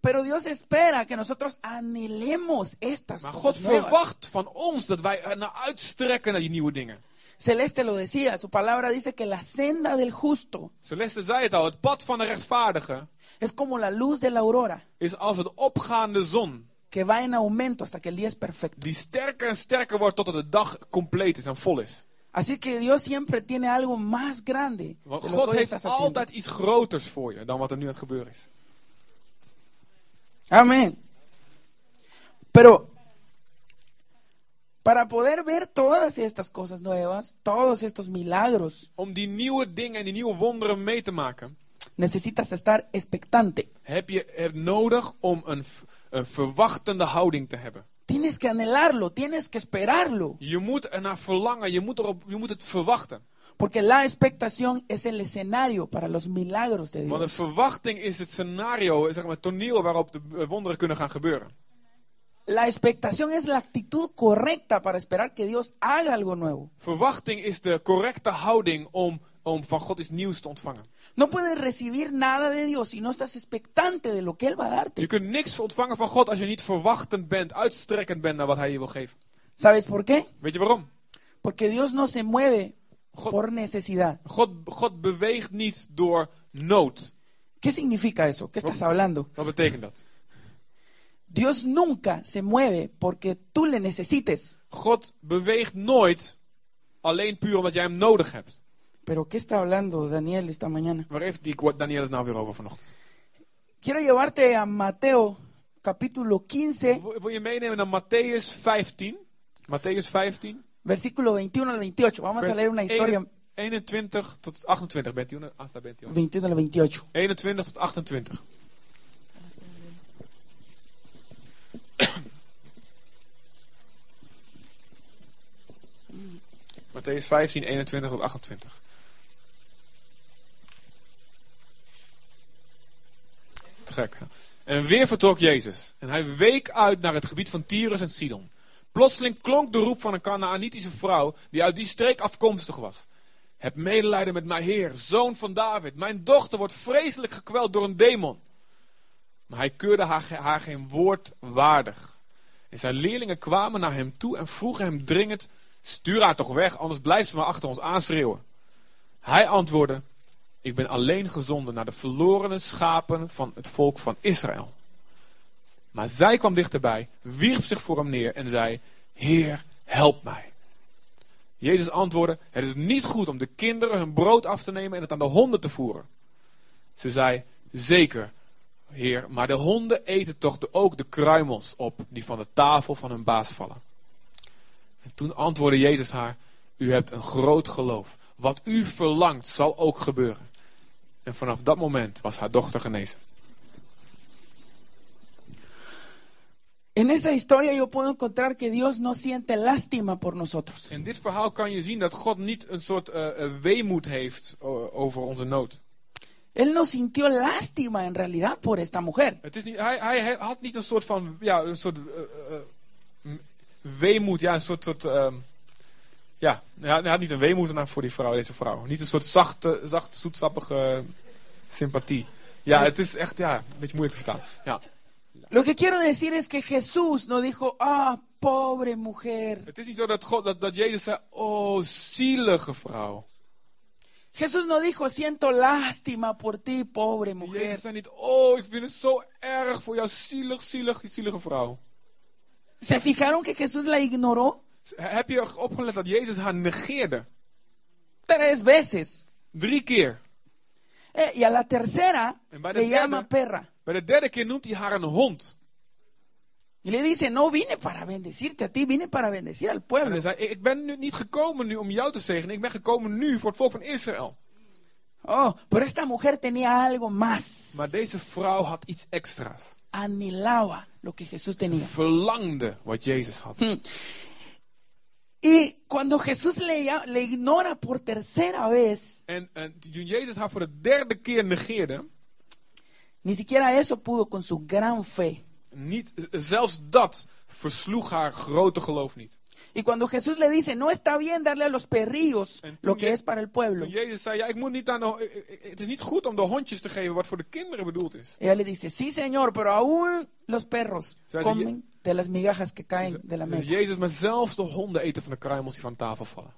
S3: Pero Dios espera que nosotros anhelemos estas
S2: Maar God
S3: cosas nuevas.
S2: verwacht van ons dat wij er naar uitstrekken naar die nieuwe dingen.
S3: Celeste lo decía, su palabra dice que la senda del justo
S2: Celeste zei het al, het pad van de rechtvaardige
S3: es como la luz de la aurora
S2: is als het opgaande zon.
S3: que va en aumento hasta que el día es perfecto.
S2: Die sterker en sterker wordt totdat de dag compleet is en vol is.
S3: Así que Dios siempre tiene algo más grande
S2: Want
S3: de lo
S2: God
S3: que hoy
S2: heeft
S3: estás haciendo.
S2: altijd iets groters voor je dan wat er nu aan het gebeuren is.
S3: Amén. Pero Para poder ver todas estas cosas nuevas, todos estos milagros,
S2: Om die nieuwe dingen en die nieuwe wonderen mee te maken,
S3: necesitas estar expectante.
S2: heb je het nodig om een, v- een verwachtende houding te hebben.
S3: Tienes que anhelarlo, tienes que esperarlo,
S2: Je moet ernaar verlangen, je moet, erop, je moet het verwachten.
S3: porque la expectación es el escenario para los milagros de
S2: Want de
S3: Dios.
S2: verwachting is het scenario, zeg maar, het toneel waarop de eh, wonderen kunnen gaan gebeuren.
S3: La expectación es la actitud correcta para esperar que Dios haga algo nuevo.
S2: Verwachting is de correcte houding om, om van God iets nieuws te ontvangen.
S3: No puedes recibir nada de Dios si no estás expectante de lo que Él va a
S2: Je
S3: darte.
S2: kunt niks ontvangen van God als je niet verwachtend bent, uitstrekkend bent naar wat Hij je wil geven.
S3: ¿Sabes por qué?
S2: Weet je waarom?
S3: Porque Dios no se mueve
S2: God-
S3: por necesidad.
S2: God, God beweegt niet door nood.
S3: ¿Qué significa eso? ¿Qué estás hablando?
S2: Wat betekent dat?
S3: Dios nunca se mueve porque tú le necesites.
S2: God beweegt nooit alleen puur omdat jij hem nodig hebt.
S3: Pero ¿qué está hablando Daniel esta mañana?
S2: Waar heeft die Daniel het nou weer over vanochtend?
S3: Quiero llevarte a Mateo capítulo 15,
S2: Wil wil je meenemen naar Matthäus 15? Matthäus 15.
S3: versículo 21 al 28. Vamos a
S2: vers
S3: leer una historia
S2: 21 tot 28. Bent u, Asta, bent u.
S3: 21 al 28.
S2: 21 tot 28. Matthäus 15, 21 tot 28. Te gek. hè? En weer vertrok Jezus. En hij week uit naar het gebied van Tyrus en Sidon. Plotseling klonk de roep van een Canaanitische vrouw die uit die streek afkomstig was. Heb medelijden met mij, Heer, zoon van David. Mijn dochter wordt vreselijk gekweld door een demon. Maar hij keurde haar, ge- haar geen woord waardig. En zijn leerlingen kwamen naar hem toe en vroegen hem dringend: Stuur haar toch weg, anders blijft ze maar achter ons aanschreeuwen. Hij antwoordde: Ik ben alleen gezonden naar de verlorene schapen van het volk van Israël. Maar zij kwam dichterbij, wierp zich voor hem neer en zei: Heer, help mij. Jezus antwoordde: Het is niet goed om de kinderen hun brood af te nemen en het aan de honden te voeren. Ze zei: Zeker, Heer, maar de honden eten toch de- ook de kruimels op die van de tafel van hun baas vallen. En toen antwoordde Jezus haar: U hebt een groot geloof. Wat u verlangt zal ook gebeuren. En vanaf dat moment was haar dochter genezen.
S3: En esa historia yo puedo encontrar que Dios no siente lástima por nosotros.
S2: In dit verhaal kan je zien dat God niet een soort eh, eh, weemoed heeft o- over onze nood.
S3: Él no sintió lástima en realidad por esta mujer.
S2: Het is niet, hij, hij hij had niet een soort van ja, een soort eh, eh, m- weemoed, ja, een soort, soort ehm, ja, hij had, hij had niet een weemoed naar- voor die vrouw, deze vrouw. Niet een soort zachte, zacht, zoetsappige sympathie. Ja, het is echt, ja, een beetje moeilijk te vertalen. Ja.
S3: Lo que quiero decir es que Jesús no dijo, ah, pobre mujer.
S2: Het is niet zo dat, God, dat, dat Jezus zei, oh, zielige vrouw.
S3: Jesús no dijo, siento lástima por ti, pobre
S2: Jezus
S3: mujer.
S2: zei niet, oh, ik vind het zo erg voor jou, zielig, zielig, zielige vrouw.
S3: ¿Se fijaron que Jesús la ignoró
S2: Heb je opgelet dat Jezus haar negeerde?
S3: tres veces?
S2: Drie keer.
S3: Eh, y a la tercera
S2: En varias
S3: le llama
S2: veces.
S3: perra.
S2: Bij de derde keer noemt hij haar een hond.
S3: Y le dice, no vine para bendecirte a ti, vine para bendecir al
S2: En hij
S3: pueblo.
S2: zei, ik ik ben nu niet gekomen nu om jou te zegenen. Ik ben gekomen nu voor het volk van Israël.
S3: Oh, pero esta mujer tenía algo más.
S2: Maar deze vrouw had iets extra's.
S3: Anhelaba lo que Jesús tenía.
S2: Verlangde wat Jezus had.
S3: Y cuando Jesús le, ya- le ignora por tercera vez,
S2: En, en toen Jezus haar voor de derde keer negeerde,
S3: ni siquiera eso pudo con su gran fe.
S2: niet, zelfs dat versloeg haar grote geloof niet.
S3: Y cuando Jesús le dice, no está bien darle a los perrillos
S2: En tú
S3: lo que
S2: ye-
S3: es para el pueblo,
S2: Toen Jezus zei, ja, ik moet niet aan de, ho- ik- ik- het is niet goed om de hondjes te geven wat voor de kinderen bedoeld is.
S3: ella le dice, sí señor, pero aún los perros
S2: O sea, si
S3: comen de las migajas que caen de la
S2: Dus
S3: mesa.
S2: Jezus, maar zelfs de honden eten van de kruimels die van tafel vallen.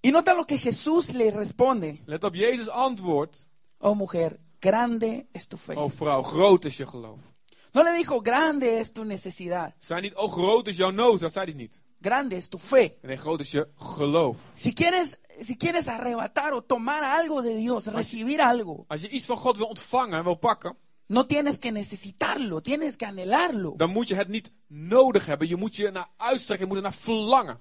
S3: Y nota lo que Jesús le responde,
S2: Let op, Jezus antwoord,
S3: oh mujer, grande es tu fe.
S2: o vrouw, groot is je geloof.
S3: No le dijo, grande es tu necesidad,
S2: Zij niet, oh groot is jouw nood, dat zei hij niet.
S3: grande es tu fe.
S2: Nee, groot is je geloof.
S3: Si quieres, si quieres arrebatar o tomar algo de Dios, recibir algo,
S2: Als je iets van God wil ontvangen en wil pakken,
S3: No tienes que necesitarlo, tienes que anhelarlo.
S2: dan moet je het niet nodig hebben. Je moet je naar uitstrekken, je moet er naar verlangen.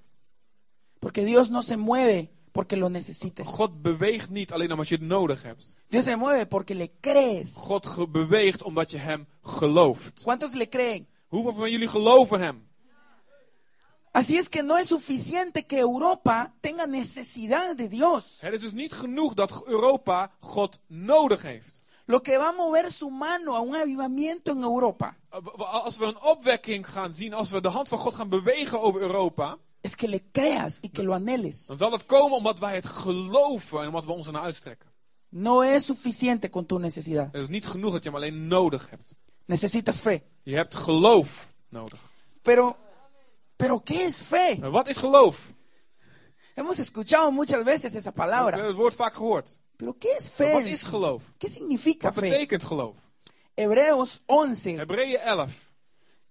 S3: Porque Dios no se mueve porque lo necesites.
S2: God beweegt niet alleen omdat je het nodig hebt.
S3: Dios se mueve porque le crees.
S2: God ge- beweegt omdat je hem gelooft.
S3: ¿Cuántos le creen?
S2: Hoeveel van jullie geloven hem?
S3: Así es que no es suficiente que Europa tenga necesidad de Dios.
S2: Het is dus niet genoeg dat Europa God nodig heeft.
S3: Lo que va a mover su mano a un avivamiento en Europa
S2: Eh, w- w- Als we een opwekking gaan zien, als we de hand van God gaan bewegen over Europa,
S3: es que le creas y que lo anheles.
S2: dan zal dat komen omdat wij het geloven en omdat we ons ernaar uitstrekken.
S3: No es suficiente con tu necesidad.
S2: Het is niet genoeg dat je hem alleen nodig hebt.
S3: Necesitas fe.
S2: Je hebt geloof nodig.
S3: Pero, pero ¿qué es fe?
S2: En Eh, wat is geloof?
S3: Hemos escuchado muchas veces esa
S2: We hebben
S3: palabra.
S2: het woord vaak gehoord.
S3: Pero ¿qué es
S2: Maar
S3: fe?
S2: Wat is geloof?
S3: ¿Qué significa
S2: Wat
S3: fe?
S2: betekent geloof?
S3: Hebreos 11
S2: Hebreeën 11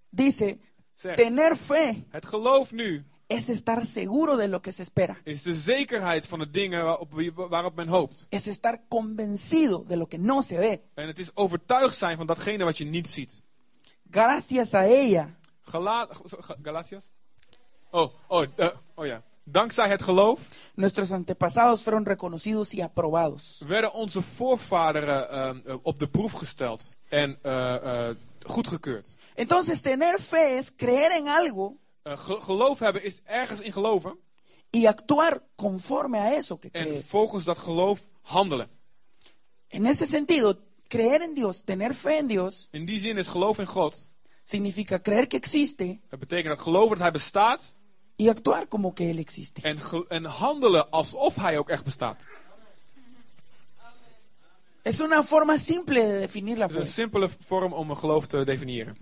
S3: dice,
S2: zegt:
S3: tener fe
S2: Het geloof nu
S3: es estar seguro de lo que se espera,
S2: is de zekerheid van de dingen waarop, waarop men hoopt.
S3: es estar convencido de lo que no se ve.
S2: En het is overtuigd zijn van datgene wat je niet ziet.
S3: Gracias a ella
S2: Gala Ga- Galatias? Oh, oh, eh, oh ja. Dankzij het geloof
S3: Nuestros antepasados fueron reconocidos y aprobados.
S2: werden onze voorvaderen eh, eh, op de proef gesteld en eh, eh, goedgekeurd.
S3: Entonces, tener fe es creer en algo
S2: Eh, ge- geloof hebben is ergens in geloven
S3: y actuar conforme a eso que
S2: en
S3: crees.
S2: volgens dat geloof handelen.
S3: En ese sentido, creer en Dios, tener fe en Dios,
S2: In die zin is geloof in God.
S3: significa creer que existe
S2: Het betekent dat geloven dat hij bestaat
S3: y actuar como que Él existe.
S2: en, ge- en handelen alsof hij ook echt bestaat.
S3: Es una forma simple de definir la
S2: Dat is een
S3: fe.
S2: simpele vorm om een geloof te definiëren.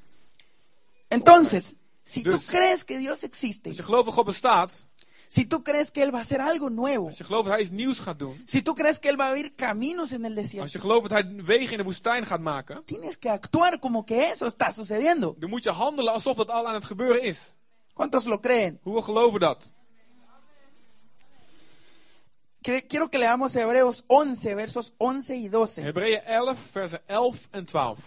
S3: Entonces, si tú
S2: Entonces-
S3: crees que Dios existe,
S2: Als je gelooft dat God bestaat,
S3: si tú crees que Él va a hacer algo nuevo,
S2: als je gelooft dat hij iets nieuws gaat doen,
S3: si tú crees que Él va a abrir caminos en el
S2: als
S3: desierto,
S2: je gelooft dat hij wegen in de woestijn gaat maken,
S3: tienes que actuar como que eso está sucediendo.
S2: dan moet je handelen alsof dat al aan het gebeuren is.
S3: ¿Cuántos lo creen?
S2: Hoe geloven dat?
S3: Cre- Quiero que leamos Hebreos 11, versos 11 y 12.
S2: Hebreeën 11, versen 11 en 12.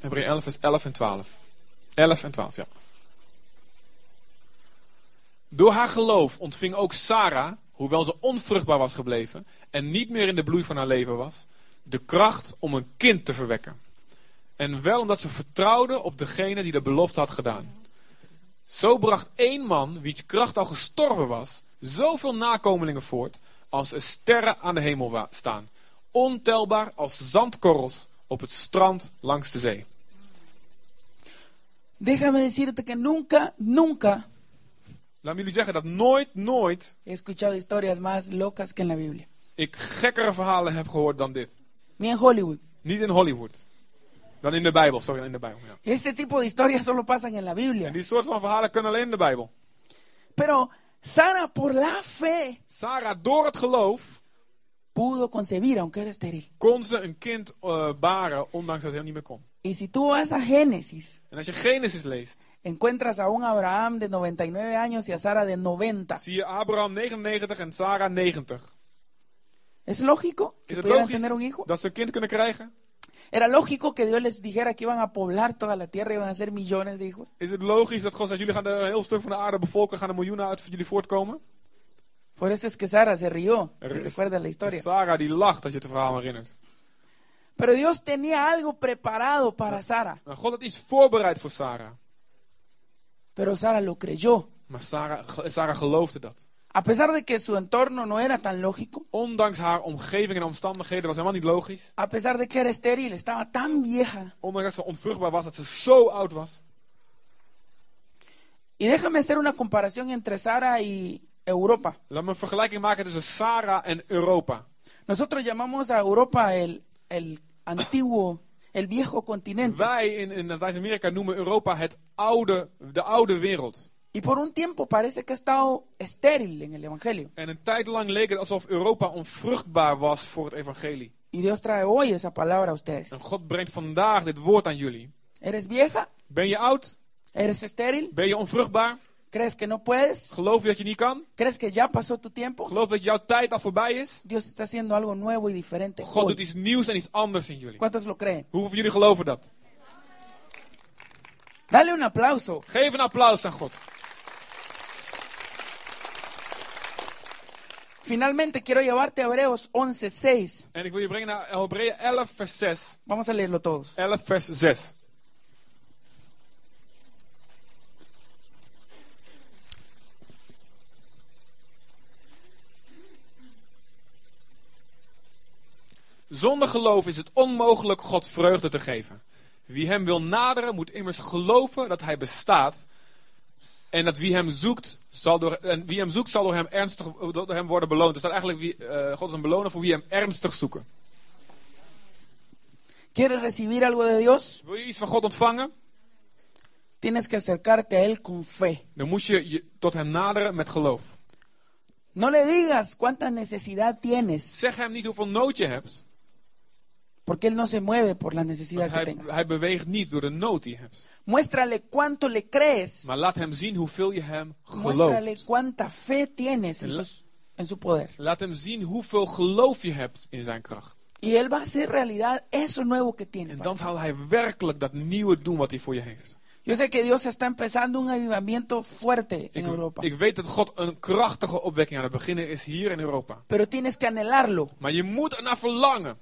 S2: Hebreeën 11, vers 11 en 12. 11 en 12, ja. Door haar geloof ontving ook Sarah, hoewel ze onvruchtbaar was gebleven en niet meer in de bloei van haar leven was, de kracht om een kind te verwekken. En wel omdat ze vertrouwde op degene die de belofte had gedaan. Zo bracht één man, wiens kracht al gestorven was, zoveel nakomelingen voort als er sterren aan de hemel wa- staan, ontelbaar als zandkorrels op het strand langs de zee.
S3: Déjame decirte que nunca, nunca
S2: Laat me jullie zeggen dat nooit, nooit
S3: he escuchado historias más locas que en la Biblia.
S2: ik gekkere verhalen heb gehoord dan dit.
S3: Ni en Hollywood.
S2: Niet in Hollywood. Dan in de Bijbel, sorry, in de Bijbel. Ja.
S3: Este tipo de historias solo pasan en la Biblia.
S2: En die soort van verhalen kunnen alleen in de Bijbel.
S3: Pero Sara, por la fe,
S2: Sarah, door het geloof,
S3: pudo concebir, aunque era estéril.
S2: kon ze een kind eh, baren, ondanks dat hij niet meer kon.
S3: Y si tú vas a Génesis,
S2: En als je Genesis leest,
S3: encuentras a un Abraham de 99 años y a Sara de 90.
S2: zie je Abraham 99 en Sarah 90.
S3: ¿Es lógico
S2: Is
S3: que
S2: het
S3: pudieran
S2: logisch
S3: tener un hijo?
S2: dat ze een kind kunnen krijgen?
S3: ¿Era lógico que Dios les dijera que iban a poblar toda la tierra y iban a ser millones de hijos?
S2: Is het logisch dat God zegt, jullie gaan een heel stuk van de aarde bevolken, gaan er miljoenen uit voor jullie voortkomen?
S3: Por eso es que Sara se rió, si
S2: Er is-
S3: recuerda la historia.
S2: Dus Sarah die lacht als je het verhaal herinnert.
S3: Pero Dios tenía algo preparado para Sara,
S2: Nou, God had iets voorbereid voor Sarah.
S3: pero Sara lo creyó.
S2: Maar Sarah, ge- Sarah geloofde dat.
S3: A pesar de que su entorno no era tan lógico,
S2: Ondanks haar omgeving en omstandigheden was helemaal niet logisch.
S3: a pesar de que era estéril, estaba tan vieja.
S2: Ondanks dat ze onvruchtbaar was, dat ze zo oud was.
S3: Y déjame hacer una comparación entre Sara y Europa.
S2: Laat me een vergelijking maken tussen Sarah en Europa.
S3: Nosotros llamamos a Europa el, el antiguo, el viejo continente.
S2: Wij in, in Latijns-Amerika noemen Europa het oude, de oude wereld.
S3: Y por un tiempo parece que ha estado estéril en el Evangelio.
S2: En een tijd lang leek het alsof Europa onvruchtbaar was voor het evangelie.
S3: Y Dios trae hoy esa palabra a ustedes.
S2: En God brengt vandaag dit woord aan jullie.
S3: ¿Eres vieja?
S2: Ben je oud?
S3: ¿Eres estéril?
S2: Ben je onvruchtbaar?
S3: ¿Crees que no puedes?
S2: Geloof je dat je niet kan?
S3: ¿Crees que ya pasó tu tiempo?
S2: Geloof dat jouw tijd al voorbij is?
S3: Dios está haciendo algo nuevo y diferente.
S2: God
S3: hoy.
S2: doet iets nieuws en iets anders in jullie.
S3: ¿Cuántos lo creen?
S2: Hoeveel van jullie geloven dat?
S3: Dale un aplauso.
S2: Geef een applaus aan God.
S3: Finalmente quiero llevarte a Hebreos 11:6.
S2: En ik wil je brengen naar Hebreeën 11 vers 6.
S3: Vamos a leerlo todos.
S2: 11 vers 6. Zonder geloof is het onmogelijk God vreugde te geven. Wie hem wil naderen moet immers geloven dat hij bestaat. En dat wie hem zoekt, zal door, en wie hem zoekt, zal door hem, ernstig, door hem worden beloond. Er staat eigenlijk, wie, eh, God is een beloner voor wie hem ernstig zoeken.
S3: ¿Quieres recibir algo de Dios?
S2: Wil je iets van God ontvangen?
S3: Tienes que acercarte a Él con fe.
S2: Dan moet je, je tot hem naderen met geloof.
S3: No le digas cuánta necesidad tienes,
S2: Zeg hem niet hoeveel nood je hebt.
S3: porque Él no se mueve por la necesidad
S2: want
S3: que
S2: Hij, hij
S3: tengas.
S2: beweegt niet door de nood die je hebt.
S3: Muéstrale cuánto le crees.
S2: Maar laat hem zien hoeveel je hem
S3: Muéstrale
S2: gelooft.
S3: cuánta fe tienes en,
S2: En la-
S3: sus- en su poder.
S2: Laat hem zien hoeveel geloof je hebt in zijn kracht.
S3: Y Él va a hacer realidad eso nuevo que tiene.
S2: En
S3: para
S2: dan zal hij werkelijk dat nieuwe doen wat hij voor je heeft.
S3: ti. Yo sé que Dios está empezando un avivamiento fuerte en
S2: Ik,
S3: Europa,
S2: ik weet dat God een krachtige opwekking aan het beginnen is hier in Europa.
S3: pero tienes que anhelarlo.
S2: Maar je moet ernaar verlangen.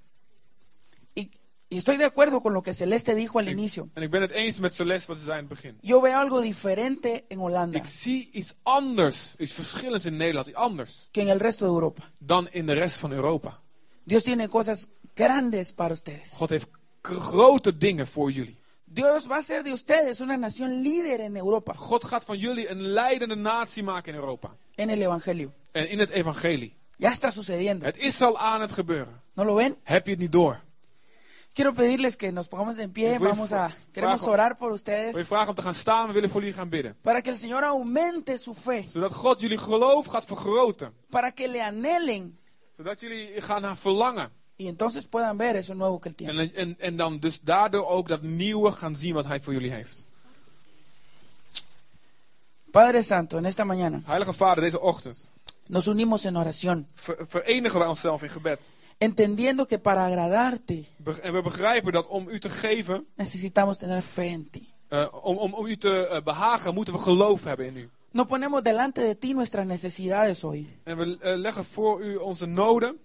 S3: Y, y estoy de acuerdo con lo que Celeste dijo al
S2: Ik-
S3: inicio.
S2: en ik ben het eens met Celeste wat ze zei in het begin.
S3: Yo veo algo diferente en Holanda
S2: Ik zie iets anders, iets verschillends in Nederland, iets anders
S3: que en el resto de Europa.
S2: dan in de rest van Europa.
S3: Dios tiene cosas grandes para ustedes.
S2: God heeft k- grote dingen voor jullie.
S3: Dios va a hacer de ustedes una nación líder en Europa,
S2: God gaat van jullie een leidende natie maken in Europa.
S3: en el Evangelio.
S2: En in het evangelie.
S3: Ya está sucediendo.
S2: Het is al aan het gebeuren.
S3: ¿No lo ven?
S2: Heb je het niet door?
S3: Quiero pedirles que nos pongamos en
S2: Y
S3: pie.
S2: Eh, voy
S3: Vamos
S2: fra-
S3: a, queremos
S2: frago.
S3: orar
S2: Wil
S3: por
S2: je
S3: ustedes
S2: vragen om te gaan staan? We willen voor jullie gaan bidden.
S3: para que el Señor aumente su fe,
S2: Zodat God jullie geloof gaat vergroten.
S3: para que le anhelen
S2: Zodat jullie gaan naar verlangen.
S3: y entonces puedan ver eso nuevo que él tiene.
S2: En, en, en dan dus daardoor ook dat nieuwe gaan zien wat Hij voor jullie heeft.
S3: Padre Santo, en esta mañana
S2: Heilige Vader, deze ochtend
S3: nos unimos en oración,
S2: ver- verenigen wij onszelf in gebed.
S3: entendiendo que para agradarte
S2: Be- en we begrijpen dat om u te geven,
S3: necesitamos tener fe en ti.
S2: eh, om, om, om u te eh, behagen, moeten we geloof hebben in u.
S3: No ponemos delante de ti nuestras necesidades hoy,
S2: En we eh, leggen voor u onze noden.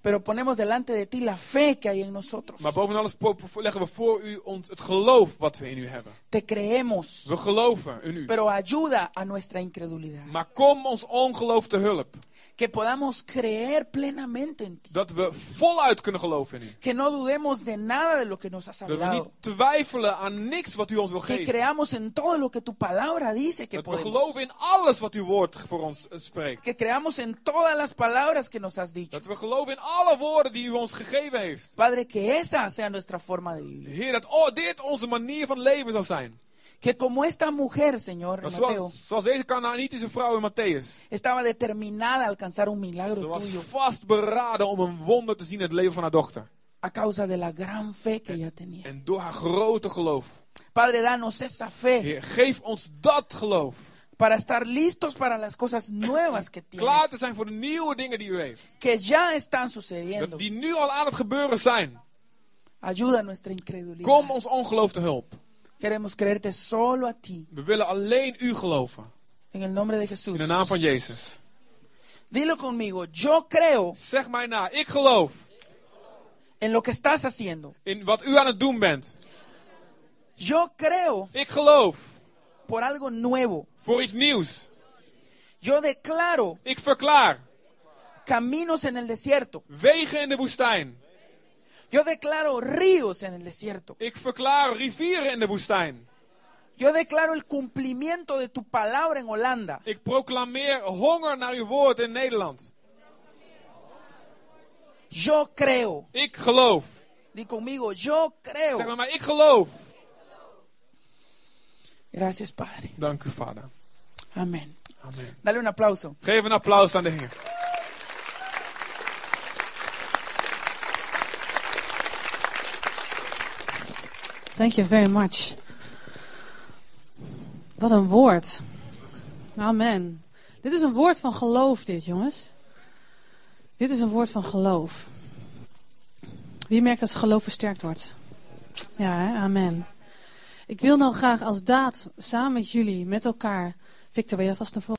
S3: pero ponemos delante de ti la fe que hay en nosotros.
S2: Maar boven alles po- po- leggen we voor u ons het geloof wat we in u hebben.
S3: Te creemos,
S2: We geloven in u.
S3: pero ayuda a nuestra incredulidad.
S2: Maar kom ons ongeloof te hulp.
S3: Que podamos creer plenamente en ti.
S2: Dat we voluit kunnen geloven in u.
S3: Que no dudemos de nada de lo que nos has
S2: Dat we niet
S3: hablado.
S2: twijfelen aan niks wat u ons wil
S3: Que
S2: geven.
S3: creamos en todo lo que tu palabra dice que
S2: Dat we
S3: podemos.
S2: geloven in alles wat uw woord voor ons eh, spreekt.
S3: Que creamos en todas las palabras que nos has dicho.
S2: Dat we geloven in alle woorden die u ons gegeven heeft.
S3: Padre, que esa sea nuestra forma de vivir.
S2: Heer, dat oh, dit onze manier van leven zal zijn.
S3: Que como esta mujer, Señor,
S2: Dat
S3: en Mateo,
S2: zoals, zoals deze Canaanitische vrouw in Matthäus.
S3: estaba determinada a alcanzar un
S2: Ze
S3: milagro
S2: was
S3: tuyo
S2: vastberaden om een wonder te zien in het leven van haar dochter.
S3: a causa de la gran fe que ella tenía.
S2: En door haar grote geloof.
S3: Padre, danos esa fe
S2: Heer, geef ons dat geloof.
S3: para estar listos para las cosas nuevas que
S2: Klaar te
S3: tienes,
S2: zijn voor de nieuwe dingen die u heeft.
S3: que ya están
S2: Dat
S3: sucediendo.
S2: die nu al aan het gebeuren zijn.
S3: Ayuda a nuestra
S2: Kom
S3: incredulidad.
S2: ons ongeloof te hulp.
S3: Queremos creerte solo a ti,
S2: We willen alleen u geloven.
S3: en el nombre de
S2: In
S3: Jesús.
S2: de naam van Jezus.
S3: Dilo conmigo, yo creo
S2: Zeg mij na, ik geloof
S3: en lo que estás haciendo.
S2: in wat u aan het doen bent.
S3: Yo creo
S2: Ik geloof
S3: por algo nuevo.
S2: voor iets nieuws.
S3: Yo declaro
S2: Ik verklaar
S3: caminos en el desierto.
S2: wegen in de woestijn.
S3: Yo declaro ríos en el desierto.
S2: Ik verklaar rivieren in de woestijn.
S3: Yo declaro el cumplimiento de tu palabra en Holanda.
S2: Ik proclameer honger naar uw woord in Nederland.
S3: Yo creo.
S2: Ik geloof.
S3: Di conmigo, yo creo.
S2: Zeg maar, maar ik geloof.
S3: Gracias, Padre.
S2: Dank u, Vader.
S3: Amén.
S2: Amen.
S3: Dale un aplauso.
S2: Geef een applaus aan de Heer.
S4: Thank you very much. Wat een woord. Amen. Dit is een woord van geloof, dit jongens. Dit is een woord van geloof. Wie merkt dat zijn geloof versterkt wordt? Ja, hè? amen. Ik wil nou graag als daad samen met jullie, met elkaar. Victor, wil jij vast naar voren?